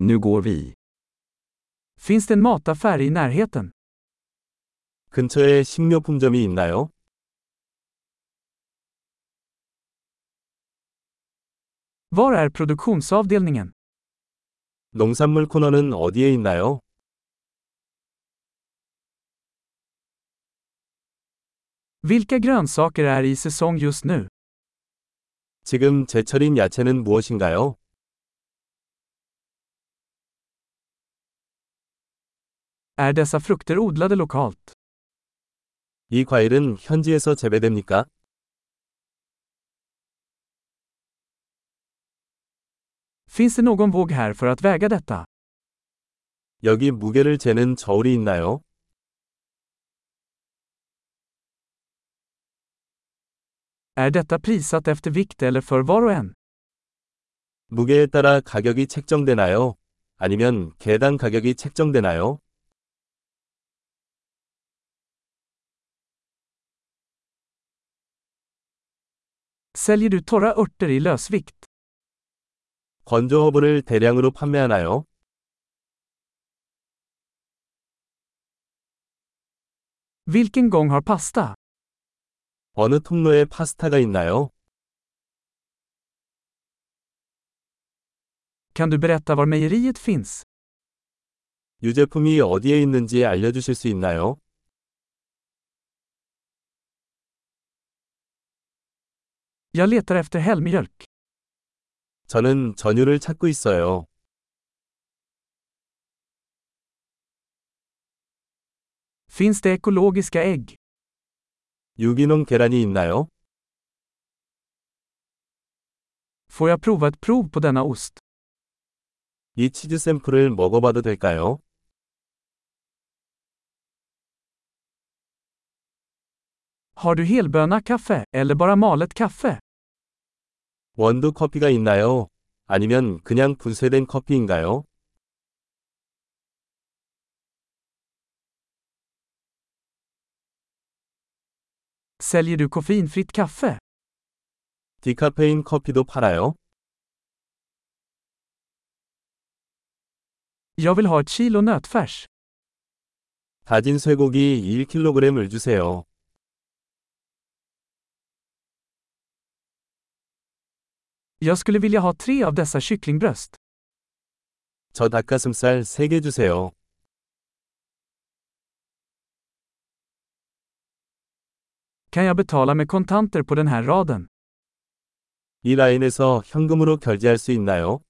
Nu går vi. Finns det en mataffär i närheten? 근처에 식료품점이 있나요? Var är produktionsavdelningen? 농산물 코너는 어디에 있나요? Vilka grönsaker är i säsong just nu? 지금 제철인 야채는 무엇인가요? Är Er dessa frukter odlade lokalt? 이 과일은 현지에서 재배됩니까? Finns det någon våg här för att väga detta? 여기 무게를 재는 저울이 있나요? Är detta prissatt efter vikt eller för var och en? 무게에 따라 가격이 책정되나요? 아니면 개당 가격이 책정되나요? Säljer du torra örter i lösvikt? 건조 허브를 대량으로 판매하나요? Vilken gång har pasta? 어느 통로에 파스타가 있나요? Kan du berätta var mejeriet finns? 유제품이 어디에 있는지 알려주실 수 있나요? Jag letar efter helmjölk. 저는 전유를 찾고 있어요. Finns det ekologiska ägg? 유기농 계란이 있나요? Får jag prova ett prov på denna ost? 이 치즈 샘플을 먹어봐도 될까요? Har du helböna kaffe, eller bara malet kaffe? 원두 커피가 있나요? 아니면 그냥 분쇄된 커피인가요? Säljer du koffeinfritt kaffe? 디카페인 커피도 팔아요? Jag vill ha ett kilo nötfärs. 다진 쇠고기 1kg을 주세요. Jag skulle vilja ha tre av dessa kycklingbröst. 저 닭가슴살 3개 주세요. Kan jag betala med kontanter på den här raden? 이 라인에서 현금으로 결제할 수 있나요?